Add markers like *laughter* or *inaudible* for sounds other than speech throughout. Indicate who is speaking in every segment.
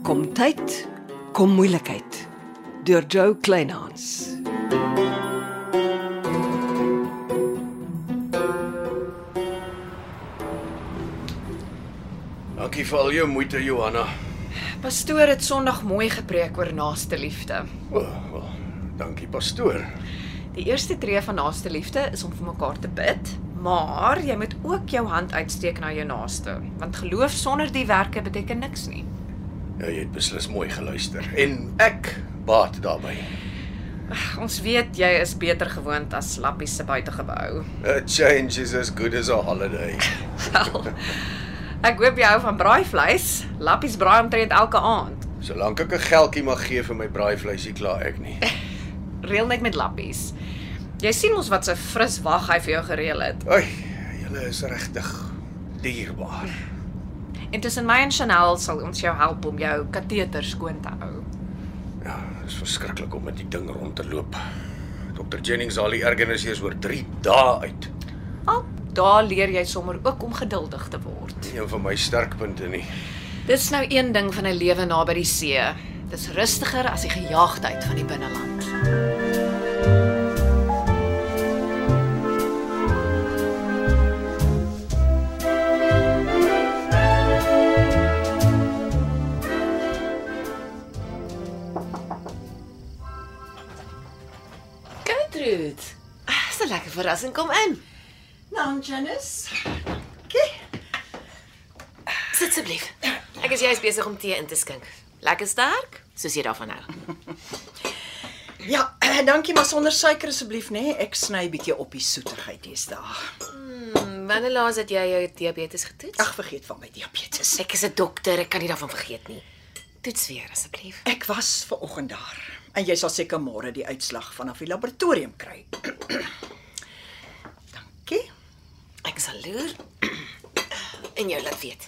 Speaker 1: Gesondheid kom moeilikheid deur Joe Kleinhans.
Speaker 2: Dankie vir al jou moeite, Johanna.
Speaker 3: Pastoor het Sondag mooi gepreek oor naaste liefde.
Speaker 2: O, wel, dankie pastoor.
Speaker 3: Die eerste tree van naaste liefde is om vir mekaar te bid, maar jy moet ook jou hand uitsteek na jou naaste, want geloof sonder die werke beteken niks nie.
Speaker 2: Ja, jy het beslis mooi geluister en ek baat daarbey.
Speaker 3: Ag, Ons weet jy is beter gewoond as lappies se buitegebou.
Speaker 2: A change is as good as a holiday.
Speaker 3: Wel. Ek hoop jy hou van braai vleis. Lappies braai omtrent elke aand.
Speaker 2: Solank ek 'n geldjie mag gee vir my braaivleisie, klaar ek nie.
Speaker 3: Reël net met lappies. Jy sien mos wat 'n fris wag hy vir jou gereël het.
Speaker 2: Oei, julle is regtig dierbaar.
Speaker 3: En tussen my en Chanel sal ons jou help om jou kateter skoon te hou.
Speaker 2: Ja, dit is verskriklik om met die ding rond te loop. Dr Jennings haal die ergernis eers oor 3 dae uit.
Speaker 3: Al daar leer jy sommer ook om geduldig te word.
Speaker 2: Nie een van my sterkpunte nie.
Speaker 3: Dis nou een ding van 'n lewe naby die see. Dis rustiger as die gejaagdheid van die binneland.
Speaker 4: Gertrude.
Speaker 3: ah,
Speaker 4: Dis 'n lekker verrassing. Kom in.
Speaker 5: Nou, Janice,
Speaker 4: Sit asseblief. Ek is juis besig om tee in te skink. Lekker sterk, soos jy daarvan hou.
Speaker 5: ja, eh, dankie maar sonder suiker asseblief, nê? Nee. Ek sny bietjie op die soetigheid deesdae.
Speaker 4: Wanneer laas het jy jou diabetes getoets?
Speaker 5: Ag, vergeet van my diabetes.
Speaker 4: ek is 'n dokter, ek kan nie daarvan vergeet nie. Toets weer asseblief.
Speaker 5: Ek was ver oggend daar en jy sal seker môre die uitslag vanaf die laboratorium kry. *clears throat* dankie.
Speaker 4: Ek sal loer *clears throat* en jou laat weet.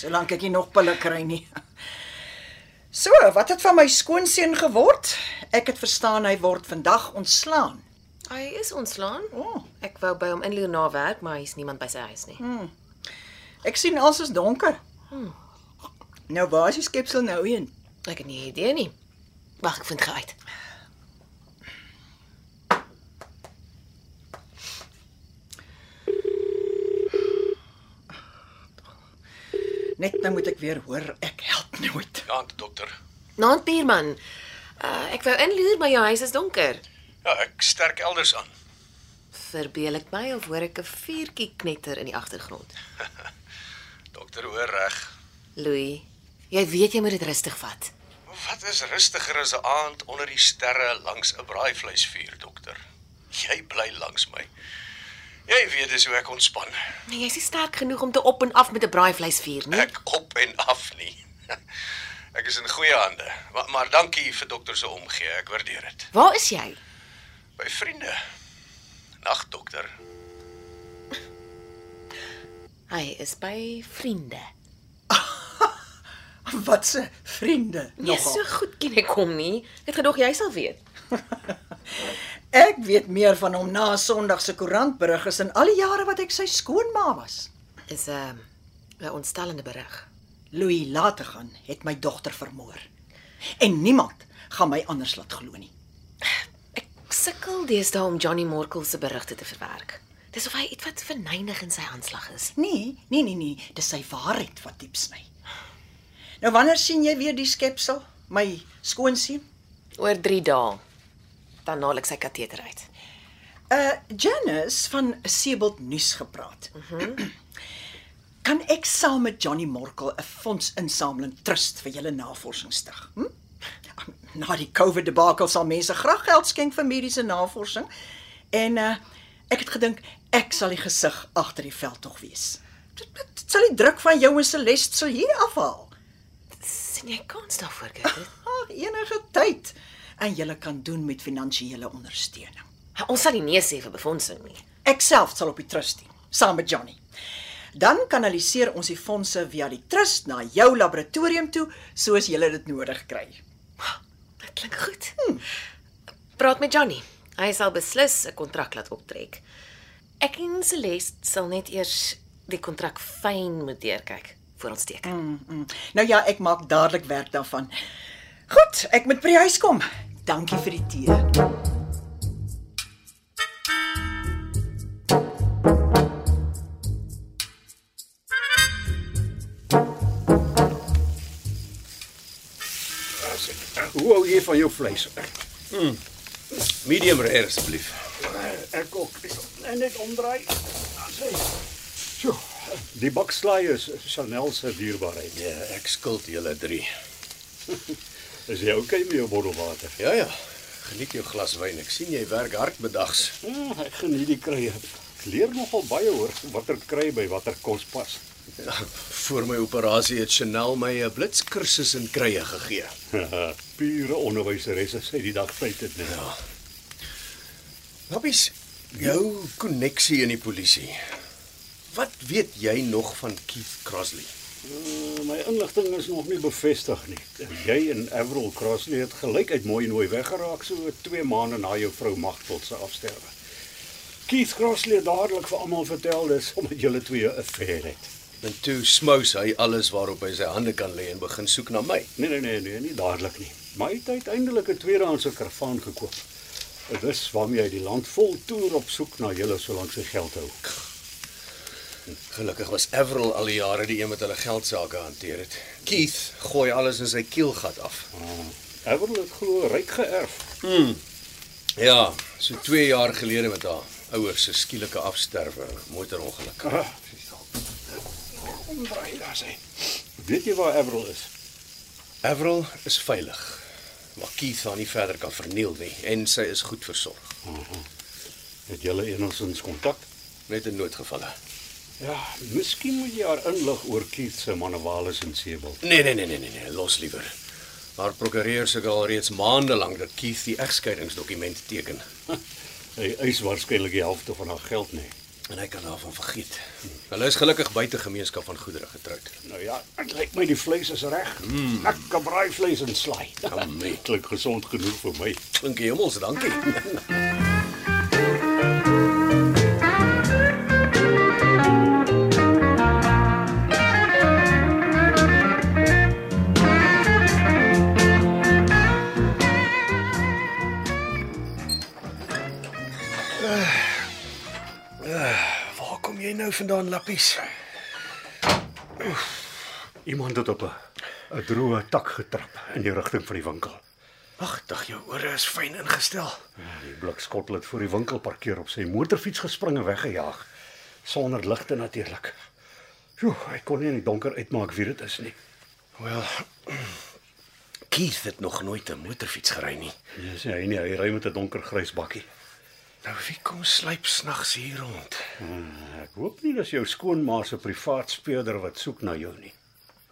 Speaker 5: Solank ek nie nog pille kry nie. *laughs* So, wat het van my skoonseun geword? Ek het verstaan hy word vandag ontslaan.
Speaker 4: Hy is ontslaan.
Speaker 5: O, oh,
Speaker 4: Ek wou by hom inloer na werk, maar hy's niemand by sy huis nie.
Speaker 5: ek sien alles is donker. Nou waar is die skepsel nou heen?
Speaker 4: Ek het nie idee nie. Wag, ek vind gou uit.
Speaker 5: Net nou moet ek weer hoor ek help nooit.
Speaker 2: Ja, dokter.
Speaker 4: Naand buurman. Uh, ek wou inloer, maar jou huis is donker.
Speaker 2: Ja, ek sterk elders aan.
Speaker 4: Verbeel ek my of hoor ek 'n vuurtjie knetter in die agtergrond?
Speaker 2: Dokter hoor reg.
Speaker 4: Louis, jy weet jy moet dit rustig vat.
Speaker 2: Wat is rustiger as 'n aand onder die sterre langs 'n braaivleisvuur, dokter? Jy bly langs my. Jy weet dis hoe ek ontspan.
Speaker 4: Nee, jy's nie sterk genoeg om te op en af met 'n braaivleisvuur nie.
Speaker 2: Ek op en af nie. *laughs* Ek is in goeie hande. Maar, maar dankie vir dokter se omgee. Ek waardeer dit.
Speaker 4: Waar is jy?
Speaker 2: By vriende. Nag, dokter.
Speaker 4: Hy is by vriende.
Speaker 5: Wat se vriende
Speaker 4: Nee,
Speaker 5: nogal.
Speaker 4: so goed ken ek hom nie. Ek het gedog jy sal weet.
Speaker 5: Ek weet meer van hom na Sondag se koerantberig is in al die jare wat ek sy skoonma was.
Speaker 4: Is 'n um, 'n ontstellende berig.
Speaker 5: Louis later gaan het my dogter vermoor. En niemand gaan my anders laat glo nie.
Speaker 4: Ek sukkel deesdae om Johnny Morkel se berigte te verwerk. Dis of hy ietwat verneig in sy aanslag is.
Speaker 5: Nee, nee nee nee, dis sy waarheid wat diep sny. Nou wanneer sien jy weer die skepsel, my skoonseun?
Speaker 4: Oor 3 dae dan naal ek sy kateter uit.
Speaker 5: Uh Janice van Sebelt nuus gepraat. kan ek saam met Johnny Morkel 'n fonds insameling trust vir julle navorsing stig? Hm? Na die COVID debakel sal mense graag geld skenk vir mediese navorsing en uh ek het gedink ek sal die gesig agter die veld tog wees. Dit, dit, dit sal die druk van jou en Celeste sal hier afhaal.
Speaker 4: sien jy kans daarvoor, Gertrude?
Speaker 5: Ag, enige tyd en jy kan doen met finansiële ondersteuning.
Speaker 4: Ons sal nie nee sê vir befondsing nie.
Speaker 5: Ek self sal op die trust dien, saam met Johnny. Dan kanaliseer ons die fondse via die trust na jou laboratorium toe soos jy dit nodig kry.
Speaker 4: Dit klink goed. Hmm. Praat met Johnny. Hy sal beslis 'n kontrak laat optrek. Ek en Celeste sal net eers die kontrak fyn moet deurkyk voor ons teken.
Speaker 3: Mm.
Speaker 5: Nou ja, ek maak dadelik werk daarvan. Goed, ek moet by die huis kom. Dankie vir die tee.
Speaker 2: Hoe hou jy van jou vleis? Hmm. Medium rare asseblief.
Speaker 6: Ek ook. Ek sal net omdraai. Sien. Sjoe. Die bakslaai is Chanel se dierbaarheid.
Speaker 2: Ja, ek skuld julle 3.
Speaker 6: Is jy okay met jou bottel water?
Speaker 2: Ja ja. Geniet jou glas wyn. Ek sien jy werk hard middags.
Speaker 6: Ja, ek geniet die kruie. Ek leer nogal baie hoor watter krui by watter kos pas. *laughs*
Speaker 2: Ja, Voor my operasie het Chanel my 'n blitskursus in kruie gegee.
Speaker 6: Pure onderwyseresse sê die dag feit dit net.
Speaker 2: Ja. Happies, jou koneksie in die polisie. Wat weet jy nog van Keith Crossley?
Speaker 6: Uh, my inligting is nog nie bevestig nie. Jy en Avril Crossley het gelyk uit mooi nooi weggeraak so 2 maande na jou vrou Magteld se afsterwe. Keith Crossley het dadelik vir almal vertel dis omdat julle twee 'n affair het.
Speaker 2: En toe smous hy alles waarop hy sy hande kan lê en begin soek na my.
Speaker 6: Nee nee nee nee, nie dadelik nie. Maar hy het uiteindelik 'n tweedehandse karavaan gekoop. Dis waarmee hy die land vol toer op soek na julle solank sy geld hou.
Speaker 2: Gelukkig was Avril al die jare die een wat hulle geld sake hanteer het. Keith gooi alles in sy keelgat af.
Speaker 6: Avril het glo ryk geërf.
Speaker 2: Ja, so 2 jaar gelede met haar ouers se skielike afsterwe, motorongeluk.
Speaker 6: Ah,
Speaker 2: Omdraai daar sy.
Speaker 6: weet jy waar Avril is?
Speaker 2: Avril is veilig. Maar Keith haar nie verder kan verniel nie en sy is goed versorg,
Speaker 6: Het julle enigstens kontak?
Speaker 2: net in noodgevalle.
Speaker 6: Ja, miskien moet jy haar inlig oor Keith se manewales en seebel.
Speaker 2: Nee, nee, nee, nee, nee, nee, los liewer. Haar prokureur sê al reeds maande lank dat Keith die egskeidingsdokument teken
Speaker 6: Hy eis waarskynlik die helfte van haar geld nee. nie.
Speaker 2: en hy kan daarvan vergeet. Hulle is gelukkig buite gemeenskap van goedere getroud.
Speaker 6: Nou ja, dit lyk my die vleis is reg. Mm. Ek kan braai vleis en slaai.
Speaker 2: Amai.
Speaker 6: klink gesond genoeg vir my.
Speaker 2: Klink hemels, dankie. Waar kom jy nou vandaan, Lappies?
Speaker 6: Iemand het op 'n 'n droë tak getrap in die rigting van die winkel. Ja,
Speaker 2: Wagtig, jou ore is fyn ingestel.
Speaker 6: Die blik skottel het voor die winkel parkeer op sy motorfiets gespring en weggejaag sonder ligte natuurlik. Sjoe, ek kon nie in die donker uitmaak wie dit is nie.
Speaker 2: Wel, *clears throat* Keith het nog nooit 'n motorfiets gery nie.
Speaker 6: Dis hy nie, hy ry met 'n donker grys bakkie.
Speaker 2: Nou wie kom slyp snags hier rond?
Speaker 6: Ah, Ek hoop nie dis jou skoonma se privaat speurder wat soek na jou nie.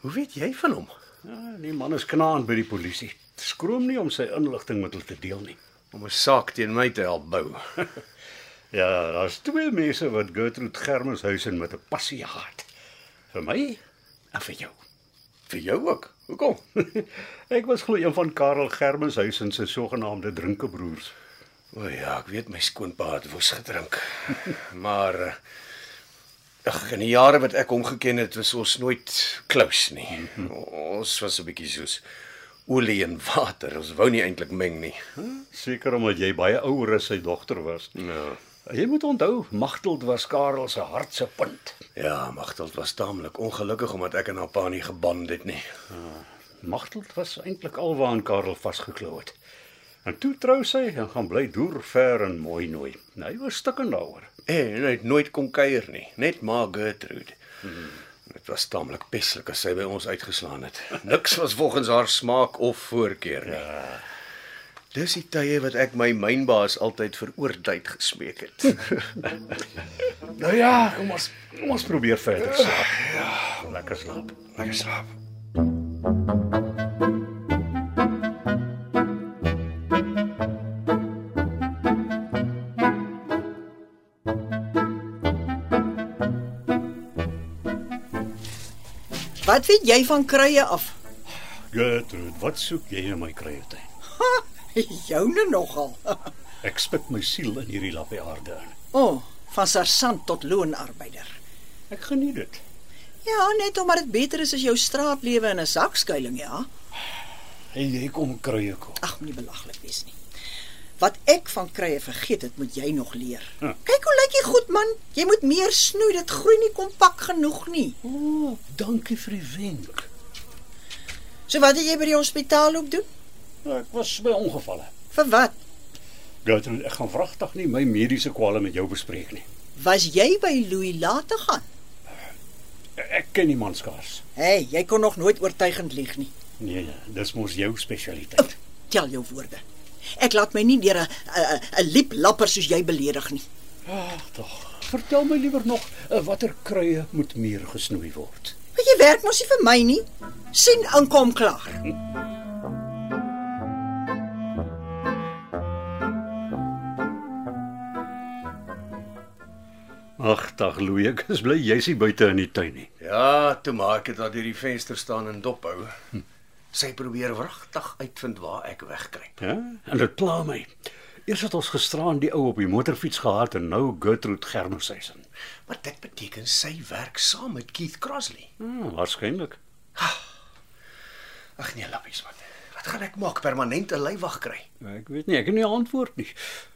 Speaker 2: Hoe weet jy van hom?
Speaker 6: Ja, die man is knaan by die polisie. Skroom nie om sy inligting met hulle te deel nie.
Speaker 2: Om 'n saak teen my te help bou.
Speaker 6: Ja, daar's twee mense wat Gertrude Germeshuisen met 'n passie haat. Vir my en vir jou.
Speaker 2: Vir jou ook. Hoekom?
Speaker 6: *laughs* ek was glo een van Karel Germeshuisen se sogenaamde drinkebroers.
Speaker 2: O ja, ek weet my skoonpa het woes *laughs* gedrink. Maar eh, ag, in die jare wat ek hom geken het, was ons nooit close nie. O- Ons was 'n bietjie soos olie en water. Ons wou nie eintlik meng nie.
Speaker 6: Seker omdat jy baie ouer as sy dogter was.
Speaker 2: Ja.
Speaker 6: Jy moet onthou, Magteld was Karel se hart se punt.
Speaker 2: Ja, Magteld was taamlik ongelukkig omdat ek en haar pa nie geband het nie.
Speaker 6: Magteld was eintlik alwaar aan Karel vasgeklou het. En toe trou sy en gaan bly deur ver en mooi nooi. Nou hy was stikken daaroor.
Speaker 2: En Eh, nou, hy het nooit kom kuier nie, net maar Gertrude. Dit was taamlik peslik as sy by ons uitgeslaan het. *laughs* Niks was volgens haar smaak of voorkeur nie. Ja. Dis die tye wat ek my mynbaas altyd vir oortyd gesmeek *laughs* het.
Speaker 6: Nou ja, kom ons kom ons probeer verder slaap. Ja, lekker slaap.
Speaker 2: Lekker slaap.
Speaker 5: Wat weet jy van kruie af? *laughs*
Speaker 6: Gertrude, Ja, wat soek jy in my kruiertuin?
Speaker 5: Joune nogal. *laughs*
Speaker 6: Ek spit my siel in hierdie lappie aarde in.
Speaker 5: O, oh, van sersant tot loonarbeider.
Speaker 6: Ek geniet dit.
Speaker 5: Ja, net omdat dit beter is as jou straatlewe in 'n sakskuiling, ja.
Speaker 6: En jy kom kruie kom.
Speaker 5: Ag, moenie belaglik wees nie. Wat ek van krye vergeet het, moet jy nog leer.
Speaker 6: Hm.
Speaker 5: Kyk hoe lyk jy goed man. Jy moet meer snoei, dit groei nie kompak genoeg nie.
Speaker 6: O, oh, dankie vir die wenk.
Speaker 5: So wat het jy by die hospitaal op doen?
Speaker 6: Nou, Ek was by ongevalle.
Speaker 5: Vir wat?
Speaker 6: Gertrude, Ja, ek gaan wragtig nie my mediese kwale met jou bespreek nie.
Speaker 5: Was jy by Louis laat te gaan?
Speaker 6: Ek ken die man skaars.
Speaker 5: Hey, jy kon nog nooit oortuigend lieg nie.
Speaker 6: Nee, dis mos jou *laughs* spesialiteit.
Speaker 5: Tel jou woorde. Ek laat my nie deur 'n 'n- 'n lieplapper soos jy beledig nie.
Speaker 6: Ag, tog. Vertel my liewer nog eh, watter kruie moet meer gesnoei word.
Speaker 5: Want jy werk mos nie vir my nie. sien aankom klaar.
Speaker 6: Ag, dag Louie, ek is bly jy's hier buite in die tuin nie.
Speaker 2: Ja, toe maak ek dat hierdie venster staan en dop hou. Sy probeer wragtig uitvind waar ek wegkruip.
Speaker 6: Ja? En dit pla my. Eers het ons gisteraan die ou op die motorfiets gehad en nou Gertrude Germushuisen.
Speaker 2: Maar dit beteken sy werk saam met Keith Crossley.
Speaker 6: Hmm, waarskynlik.
Speaker 2: Ag nee, lappies man. Wat gaan ek maak permanent 'n leiwag kry?
Speaker 6: Ek weet nie, ek het nie 'n antwoord nie.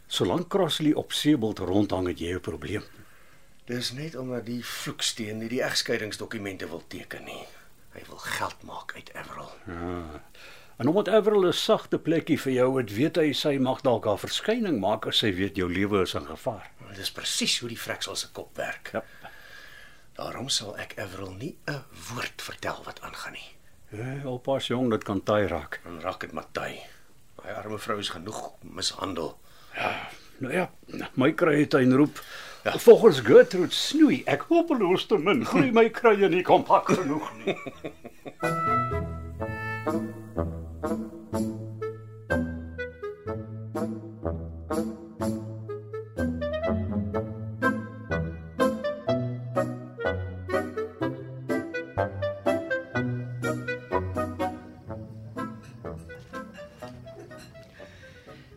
Speaker 6: Solank Crossley op Sebelt rondhang het jy 'n probleem.
Speaker 2: Dis net omdat die vloeksteen nie die egskeidingsdokumente wil teken nie. Hy wil geld maak uit Everal.
Speaker 6: Ja. En omdat Everil 'n sagte plekkie vir jou het, weet hy sy mag dalk haar verskyning maak as sy weet jou lewe is in gevaar.
Speaker 2: Maar Dis presies hoe die vreksel se kop werk.
Speaker 6: Ja.
Speaker 2: Daarom sal ek Everal nie 'n woord vertel wat aangaan nie.
Speaker 6: Ja, oppas jong, dit kan taai raak.
Speaker 2: Dan raak dit Matai. Daai arme vrou is genoeg mishandel.
Speaker 6: Nou ja, my kruie tuin roep. Ja. Volgens Gertrude snoei ek hopeloos te min. Groei my kruie nie kompak genoeg nie.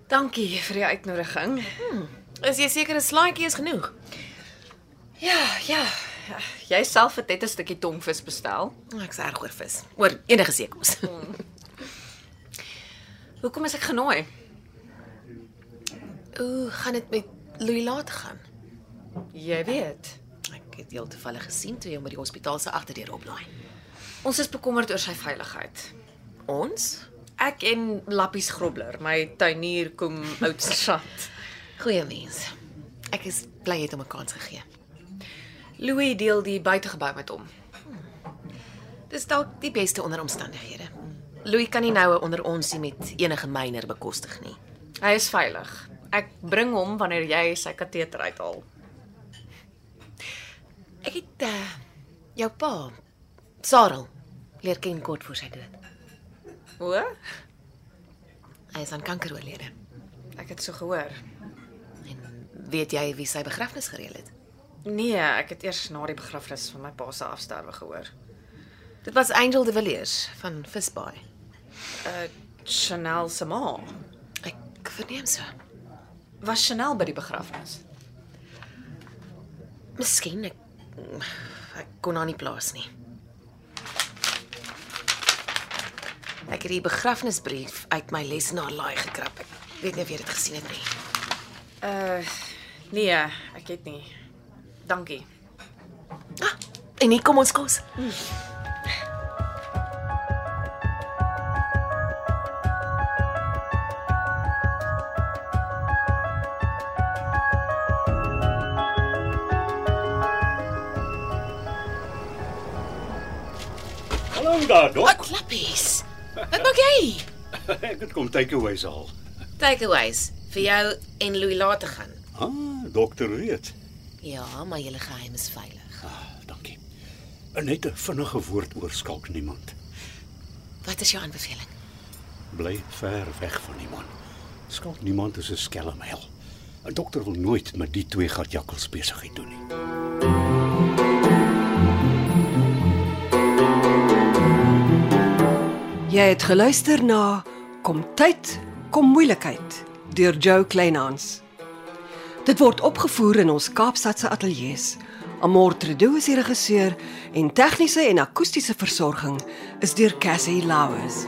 Speaker 3: Dankie vir die uitnodiging.
Speaker 4: Hmm. Is jy seker 'n slaaitjie is genoeg?
Speaker 3: Ja, ja. Jy self het net 'n stukkie tongvis bestel. Mm.
Speaker 4: Ek's erg oor vis. Oor enige seekos.
Speaker 3: Hoekom is ek genooi?
Speaker 4: Ooh, gaan dit met Louis laat gaan?
Speaker 3: Jy weet,
Speaker 4: Ek het heel toevallig gesien toe jy hom by die hospitaal se agterdeur oplaai.
Speaker 3: ons is bekommerd oor sy veiligheid.
Speaker 4: Ons?
Speaker 3: Ek en Lappies Grobler, my tuinier kom oud sergeant.
Speaker 4: Goeie mens. Ek is bly jy het hom 'n kans gegee.
Speaker 3: Louis deel die buitegebou met hom.
Speaker 4: Dis dalk die beste onder omstandighede. Louis kan nie nou 'n onder onsie met enige myner bekostig nie.
Speaker 3: Hy is veilig. Ek bring hom wanneer jy sy kateter uithaal.
Speaker 4: Ek het uh, jou pa, Sarel, leer ken kort voor sy dood.
Speaker 3: O,
Speaker 4: Hy is aan kanker oorlede.
Speaker 3: ek het so gehoor.
Speaker 4: En weet jy wie sy begrafnis gereël het?
Speaker 3: Nee, ek het eers na die begrafnis van my pa se afsterwe gehoor.
Speaker 4: Dit was Angel de Villiers van Visbaai.
Speaker 3: Uh Chanel se ma.
Speaker 4: Ek verneem so.
Speaker 3: Was Chanel by die begrafnis?
Speaker 4: Miskien ek ek kon haar nie plaas nie. Ek het die begrafnisbrief uit my lesenaar laai gekrap. Ek weet nie of jy dit gesien het nie.
Speaker 3: Uh nee, ek het nie. Dankie.
Speaker 4: Ah, en hier kom ons kos.
Speaker 6: *laughs* Hallo daar, dok.
Speaker 4: klappies. Wat maak jy?
Speaker 6: Ek het kom takeaways haal.
Speaker 4: Takeaways vir jou en Louis laat te gaan.
Speaker 6: Ah, dokter weet.
Speaker 4: Ja, maar julle geheim is veilig.
Speaker 6: Ah, dankie. Net 'n vinnige woord oor skalk niemand.
Speaker 4: Wat is jou aanbeveling?
Speaker 6: Bly ver weg van die man. Skalk niemand is 'n skelm hel. 'n Dokter wil nooit met die twee gatjakkels besigheid doen nie.
Speaker 1: Jy het geluister na Kom tyd, kom moeilikheid deur Jo Kleinhans. Dit word opgevoer in ons Kaapstadse ateljee se Amor Trudeau is die regisseur en tegniese en akoestiese versorging is deur Cassie Lauers.